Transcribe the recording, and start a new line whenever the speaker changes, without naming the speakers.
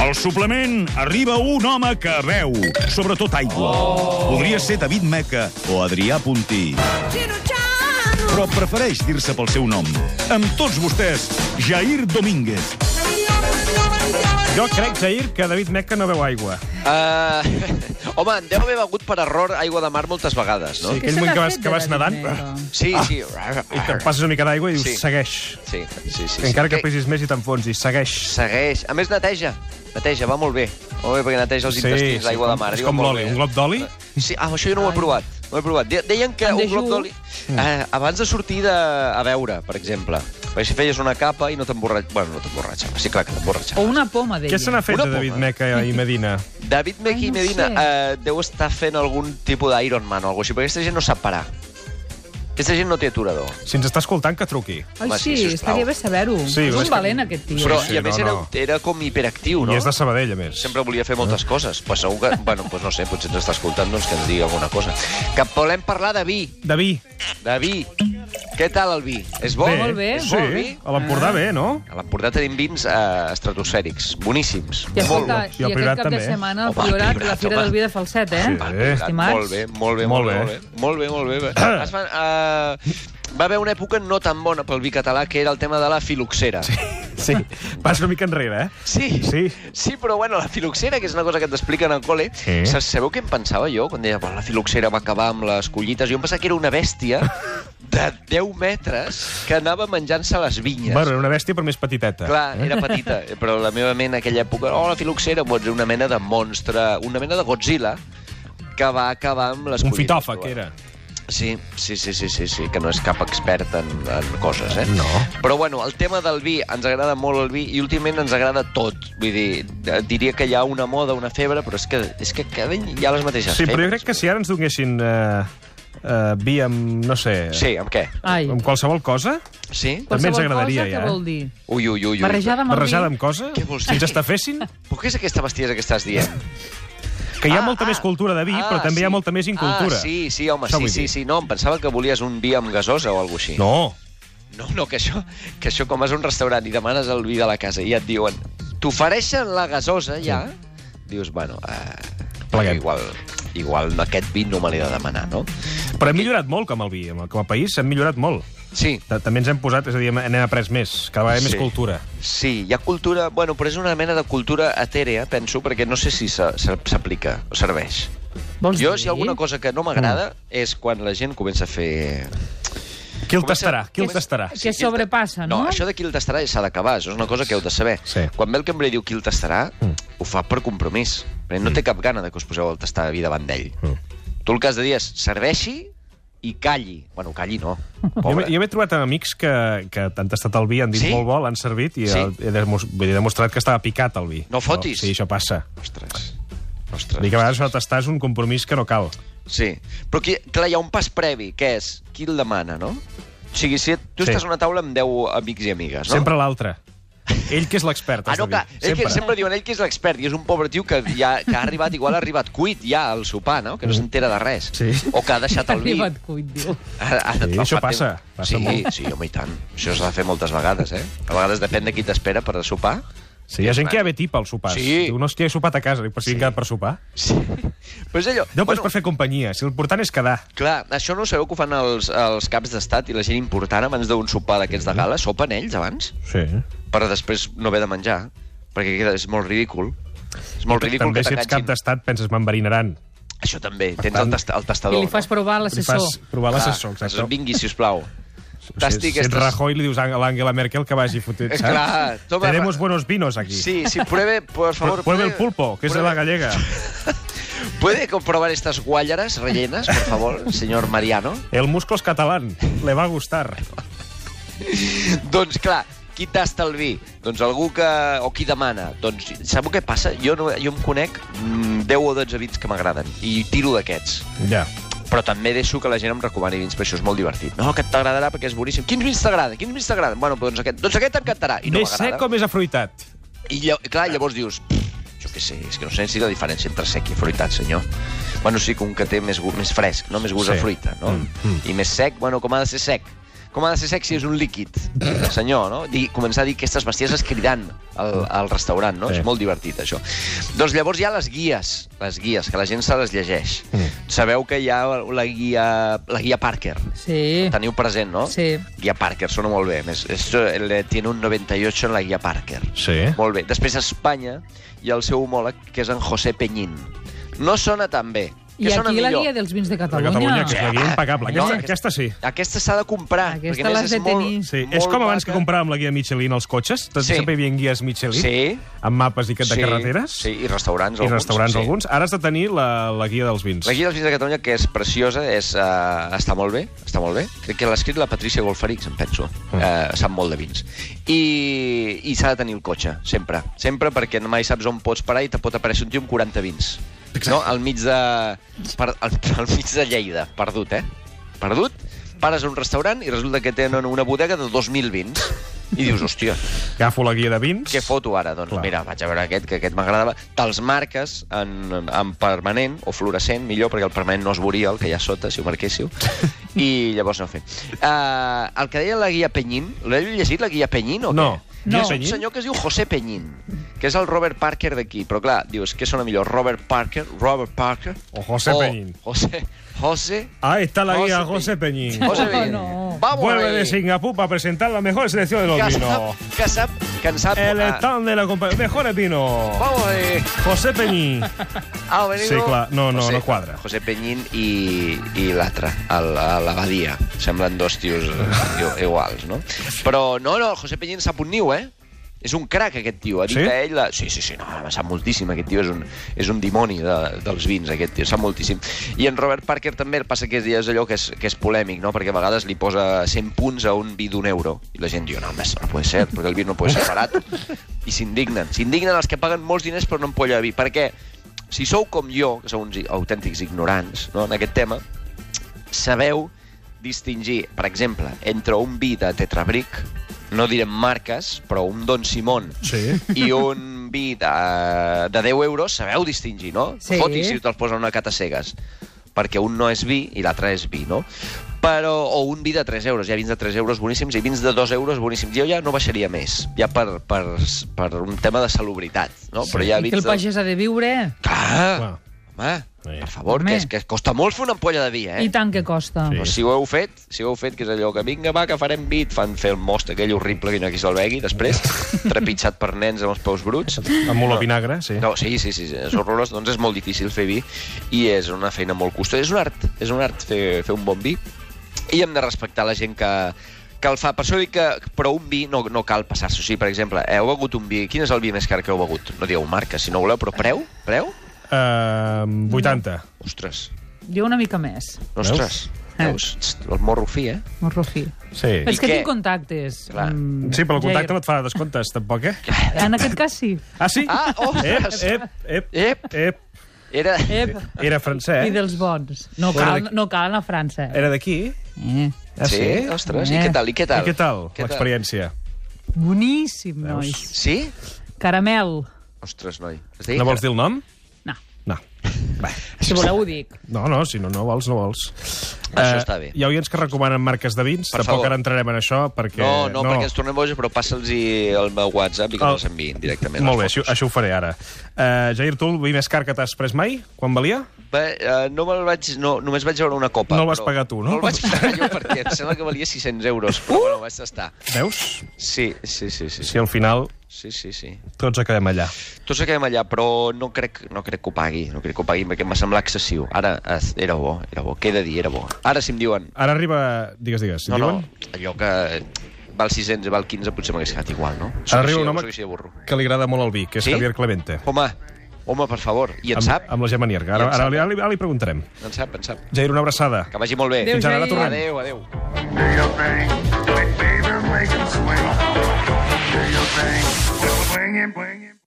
Al suplement arriba un home que veu, sobretot aigua. Oh. Podria ser David Meca o Adrià Puntí, però prefereix dir-se pel seu nom. Amb tots vostès, Jair Domínguez.
Jo crec, Jair, que David Meca no veu aigua.
Uh, home, en deu haver begut per error aigua de mar moltes vegades, no?
Sí, aquell moment que vas, que vas nadant
Sí, sí.
i que passes una mica d'aigua i dius,
Sí.
sí. segueix.
Sí, sí, sí.
Sí, Encara que
Que-
pesis més i t'enfonsis, segueix.
Segueix. A més, neteja. Neteja, va molt bé. Molt bé, perquè neteja els intestins,
sí,
l'aigua de mar.
és
diuen
com
molt
l'oli,
bé. eh?
un glob d'oli?
Sí, ah, això jo no ho he provat. No ho he provat. De- Deien que
En
un glob
dejú.
d'oli...
Mm.
Eh, abans de sortir de, a veure, per exemple, perquè si feies una capa i no t'emborratxaves... Bueno, no t'emborratxaves, sí, clar que
O
t'emborratxaves.
una poma, deia.
Què se n'ha fet
Una
de David
poma.
Meca i Medina?
David
Ai,
Meki i
no ho
Medina
sé.
eh, deu estar fent algun tipus d'Iron Man o alguna cosa així, perquè aquesta gent no sap parar. Aquesta gent no té aturador.
Si ens està escoltant, que truqui.
Ai,
Home,
sí,
sí, sisplau.
estaria bé saber-ho. és
Sí, és
un
que-
valent, aquest tio.
Però,
sí,
i a més,
no,
era,
no.
era com hiperactiu, no?
I és de Eh? Sabadell, a més.
sempre volia fer moltes coses. Pues segur que, bueno, pues no sé, potser ens està escoltant, doncs que ens digui alguna cosa. Que volem parlar de vi,
David,
de vi. Què tal el vi? És bo?
bé.
molt bé.
És
Sí,
bo, el vi?
a l'Empordà
Ah.
bé, no?
A l'Empordà tenim vins eh, estratosfèrics, boníssims.
I, escolta,
bo. I
i
el
aquest
Priorat
cap de
també.
setmana, el
Home, el
Priorat, la
Priorat,
Fira
home.
del Vi de Falset, eh?
Sí.
Molt bé,
Estimats.
Molt bé, molt bé, molt
Molt
bé.
bé.
Molt bé, molt bé. Molt bé. Es van, eh, va haver una època no tan bona pel vi català, que era el tema de la filoxera. Sí.
Sí, vas una mica enrere, eh?
Sí,
Sí.
sí, però bueno, la filoxera, que és una cosa que t'expliquen al col·le,
Sí.
sí. sabeu què em pensava jo quan deia "Bueno, la filoxera va acabar amb les collites? Jo em pensava que era una bèstia de 10 metres que anava menjant-se les vinyes.
Bueno, era una bèstia, però més petiteta. eh?
Clar, era petita, eh, però la meva ment en aquella època... Oh, la filoxera, doncs, una mena de monstre, una mena de Godzilla, que va acabar amb les
Un
collites. eh?
fitòfag,
bueno.
era.
Sí, sí, sí, sí, sí, sí, que no és cap expert en, en coses, eh?
No.
Però bueno, el tema del vi, ens agrada molt el vi i últimament ens agrada tot. Vull dir, eh, diria que hi ha una moda, una febre, però és que, és que cada any hi ha les mateixes
Sí, però jo crec
febres.
que si ara ens donessin eh, eh, vi amb, no sé,
Sí, amb què?
Ai,
amb qualsevol cosa,
Sí?
també ens
qualsevol
agradaria,
cosa,
ja,
què
eh?
vol dir?
Ui, ui, ui, ui.
Barrejada amb el vi.
barrejada amb cosa,
Què vols
si ens
dir?
estafessin,
Però què és aquesta bestiesa que estàs dient?
que hi ha molta més cultura de vi, però també hi ha molta més incultura.
Ah, sí, sí, home,
Això
sí,
vull
sí,
dir.
sí. No, em pensava que volies un vi amb gasosa o alguna així.
No,
No, no, que això, que això com vas a un restaurant i demanes el vi de la casa i ja et diuen t'ofereixen la gasosa ja, dius, bueno, eh,
Pleguem.
igual, igual aquest vi no me l'he de demanar, no?
però hem millorat molt com el vi, amb- com a país hem millorat molt.
Sí,
Ta- També ens hem posat, és a dir, hem- n'hem après més, cada vegada
Sí.
més cultura.
sí, hi ha cultura... Bueno, però és una mena de cultura etèrea, penso, perquè no sé si se- se- s'aplica o serveix.
Vols dir?
Jo,
Mm.
si hi ha alguna cosa que no m'agrada és quan la gent comença a fer...
Qui el
Comença-
tastarà? Qui el
comença-
tastarà?
Que
qui el ta-
sobrepassa, no?
No, això de qui el tastarà s'ha d'acabar, això és una cosa que heu de saber.
Sí.
Quan ve el cambrer i diu qui el tastarà, mm. ho fa per compromís. Perquè
Mm.
no té cap gana de que us poseu el tastar de vi davant d'ell. Mm. Tu el que has de dir és serveixi i calli. Bueno, calli no.
Jo, m'he-
Pobre.
jo m'he trobat amb amics que, que han tastat el vi, han dit
Sí?
molt bo, l'han servit i
Sí.
el- he, demos, vull dir, he demostrat que estava picat el vi.
No fotis.
sí, això passa.
Ostres.
Vull dir que
Ostres.
a vegades això de tastar és un compromís que no cal.
Sí. Però qui, clar, hi ha un pas previ, que és qui el demana, no? O sigui, si tu
Sí.
estàs a una taula amb 10 amics i amigues, no?
Sempre l'altre. Ell que és l'expert,
Ah,
has
no,
de
clar,
dir.
ell que sempre diuen ell que és l'expert i és un pobre tio que, ja, que ha arribat, igual ha arribat cuit ja al sopar, no? Que no s'entera de res.
Mm. Sí.
O que ha deixat el vi.
Arribat cuit, diu.
Ha, ha de
Sí,
fa
això
temps.
passa, passa
sí,
molt.
Sí, home, i tant. Això s'ha de fer moltes vegades, eh? A vegades depèn de qui t'espera per sopar.
Sí, hi ha gent que ja ve tip al sopar.
Sí.
Diu, no, hòstia, he sopat a casa. Dic, però si sí. quedat per sopar.
Sí. Però és allò...
No, però és per fer companyia. Si l'important és quedar.
Clar, això no ho sabeu que ho fan els, els caps d'estat i la gent important abans d'un sopar d'aquests de gala? Sopen ells abans?
Sí.
Per després no haver de menjar? Perquè queda, és molt ridícul. És molt ridícul
També
que
si ets cap
t'enganxin.
d'estat penses m'enverinaran.
Això també, tens
tant,
el, tast el
I
tastador.
li fas provar a
Li
l'assessor.
fas provar l'assessor,
Clar, doncs
exacte.
Vingui, sisplau.
Si, si ets Rajoy, li dius a l'Àngela Merkel que vagi fotent,
Eh,
saps?
clar, toma-
Tenemos buenos vinos aquí.
Sí, sí, pruebe, por favor.
Pruebe el pulpo, que es de la gallega.
¿Puede comprobar estas guállaras rellenas, por favor, señor Mariano?
El musclo es catalán, le va a gustar.
doncs clar, qui tasta el vi? Doncs algú que... o qui demana. Doncs sabeu què passa? Jo, no, jo em conec mm, 10 o 12 vins que m'agraden i tiro d'aquests.
Ja.
Però també deixo que la gent em recomani vins, perquè això és molt divertit. No, que t'agradarà perquè és boníssim. Quins vins t'agraden? Quins vins t'agraden? Bueno, doncs aquest, doncs aquest t'encantarà. I no
més
m'agrada.
sec o més afruitat?
I lla- clar, llavors dius, "Pff, jo què sé, és que no sé si la diferència entre sec i afruitat, senyor. Bueno, sí que un que té més, gu- més fresc, no? més gust
Sí.
sí. a fruita, no?
Mm,
Mm, mm. I més sec, bueno, com ha de ser sec? com ha de ser sexy és un líquid, senyor, no? Dir, començar a dir aquestes bestieses cridant al, al restaurant, no?
Sí.
Sí. És molt divertit, això. Doncs llavors hi ha les guies, les guies, que la gent se les llegeix.
Mm.
Mm. Sabeu que hi ha la guia, la guia Parker.
Sí.
Teniu present, no?
Sí.
Guia Parker, sona molt bé. Més, esto le tiene un 98 en la guia Parker.
Sí.
Molt bé. Després a Espanya hi ha el seu homòleg, que és en José Peñín. No sona tan bé.
I
Què sona
aquí la
millor? Ah,
guia dels vins de
La
Catalunya.
Catalunya, que és la guia impecable.
No,
Aquesta,
aquesta-
aquesta sí.
Aquesta s'ha de comprar.
Aquesta
perquè a més
l'has de
és molt-
tenir.
Sí,
molt
és com abans
maca.
que compràvem la guia Michelin als cotxes. Tot
Sí.
Sempre hi havia guies Michelin
Sí.
amb mapes i que de
sí,
carreteres
Sí, i restaurants
i
alguns.
restaurants
sí.
alguns. Ara has de tenir la, la guia dels vins.
La guia dels vins de Catalunya, que és preciosa, és, uh, està molt bé, està molt bé. Crec que l'ha escrit la Patricia Golfarix, em penso.
Mm.
Mm. Uh, sap molt de vins. I, i s'ha de tenir el cotxe, sempre. Sempre, perquè mai saps on pots parar i te pot aparèixer un tio amb 40 vins. No? Al mig de... Per, al, al mig de Lleida, perdut, eh? Perdut? Pares a un restaurant i resulta que tenen una bodega de 2.000 vins. I dius, hòstia,
Agafo la guia de vins.
què foto ara? Doncs
Clar.
Clar. mira, vaig a veure aquest, que aquest m'agradava. Te'ls marques en, en permanent, o fluorescent, millor, perquè el permanent no es veuria, el que hi ha sota, si ho marquéssiu. I llavors no fer. Uh, el que deia la guia Peñín, l'heu llegit, la guia Peñín, o
No.
què?
No.
És un senyor que es diu José Peñín, que és el Robert Parker d'aquí. Però clar, dius, què sona millor, Robert Parker, Robert Parker...
O José Peñín.
José, José...
Ah, está la
José
guía José
Peñín.
Peñín.
José Ah,
No,
Peñín.
no.
Vamos
Vuelve
ahí.
de Singapur para presentar la mejor selección de
Que
los
sap,
vinos.
que sap, que en sap...
El
ah,
stand de la compañía. Mejores vinos.
Vamos ahí.
José Peñín.
Ah, venido...
Sí, clar. No, no, no quadra.
José Peñín i, i l'altre, el- a l'abadia. Semblen dos tios i- iguals, no? Però no, no, el José Peñín sap un niu, eh? És un crac, aquest tio. Ha dit
Sí?
que ell... La... Sí, sí, sí, no, home, sap moltíssim. Aquest tio és un, és un dimoni de, dels vins, aquest tio. Sap moltíssim. I en Robert Parker també el passa que és, és allò que és, que és polèmic, no? Perquè a vegades li posa 100 punts a un vi d'un euro. I la gent diu, no, home, això no pot ser, perquè el vi no pot ser barat. I s'indignen. S'indignen els que paguen molts diners per una ampolla de vi. Per què? si sou com jo, que sou uns i- autèntics ignorants no, en aquest tema, sabeu distingir, per exemple, entre un vi de Tetrabric, no direm marques, però un Don Simón
Sí.
i un vi de, de 10 euros, sabeu distingir, no?
Sí.
Fotis si te'ls posa en una cata cegues, perquè un no és vi i l'altre és vi, no? Però, o un vi de 3 euros, hi ha vins de 3 euros boníssims i vins de 2 euros boníssims. Jo ja no baixaria més, ja per, per, per un tema de salubritat, no?
Sí.
Però hi ha
I
vins
que el
de-
pagès ha de viure.
Clar,
Clar.
home,
Sí.
per favor,
Home.
que, és, que costa molt fer una ampolla de vi, eh?
I tant que costa.
Sí.
Però si ho heu fet, si ho heu fet, que és allò que vinga, va, que farem vi, et fan fer el most aquell horrible que no qui se'l begui, després, trepitjat per nens amb els peus bruts.
Amb olor a vinagre, sí.
No, sí, sí, sí, sí, és horrorós, doncs és molt difícil fer vi i és una feina molt costosa. És un art, és un art fer, fer un bon vi i hem de respectar la gent que, que el fa. Per això dic que però un vi no, no cal passar-se. O sigui, per exemple, heu begut un vi, quin és el vi més car que heu begut? No dieu marca, si no voleu, però preu? Preu?
Eh, 80.
Ostres,
Jo una mica més,
ostres. Veus? Txt, El morro fi, eh?
Morrofí.
Sí.
És que
què?
tinc contactes.
Clar.
amb
Sí, però el contacte
Jair.
no et fa descomptes, tampoc, eh?
En aquest cas sí.
Ah, sí?
Ah,
Ep,
ostres!
ep, ep,
Ep,
ep.
era...
Ep.
Era francès.
I dels bons. No
Fora
cal,
d'aquí.
no cal anar a França.
Era d'aquí.
Eh.
Ah, sí?
Sí, ostres, i
Eh.
què tal, i què
I
tal?
què tal, l'experiència?
Boníssim,
Veus?
nois.
Sí?
Caramel.
Ostres, noi. Es deia
No vols
que-
dir el nom?
No.
No. Va.
Si voleu ho dic.
No, no, si no, no vols, no vols.
Això
Eh,
està bé.
Hi ha oients que recomanen marques de vins,
Per
tampoc
favor.
ara entrarem en això perquè...
No, no, no, perquè ens tornem bojos, però passa'ls el meu WhatsApp i que
El-
els enviïn directament.
Ah. Molt bé,
les
això,
fotos.
això ho faré ara. Uh, Jair, tu el vi més car que t'has pres mai? Quan valia?
Va, eh, no me'l vaig... No, només vaig veure una copa.
No el vas
però-
pagar tu, no?
No el vaig pagar jo, perquè em sembla que valia 600 euros, però uh! bueno, vaig tastar.
Veus?
Sí, sí, sí, sí,
Si
sí,
al final
sí, sí, sí.
tots acabem allà.
Tots acabem allà, però no crec, no crec que ho pagui, no crec que ho pagui, perquè em va semblar excessiu. Ara, eh, era bo, era bo, què he de dir, era bo. Ara si em diuen...
Ara arriba... Digues, digues.
No,
diuen
no, allò que val 600 i val 15 potser m'hagués quedat igual, no? Sóc
Ara arriba
així,
un home-
Soc així de burro.
que li agrada molt el vi, que és
Sí?
Javier Clemente.
Home, home, per favor, i en
amb,
sap?
Amb la Gemma Nierga.
I
Ara,
en
ara,
sap.
li, ara, li, ara li preguntarem.
En sap, en sap.
Jair, una abraçada.
Que vagi molt bé.
Adéu,
Eh, Fins ara, ara
Jair.
tornem.
Adéu, adéu.
Do your thing, baby, make 'em swing. Do your thing, swing it, swing it.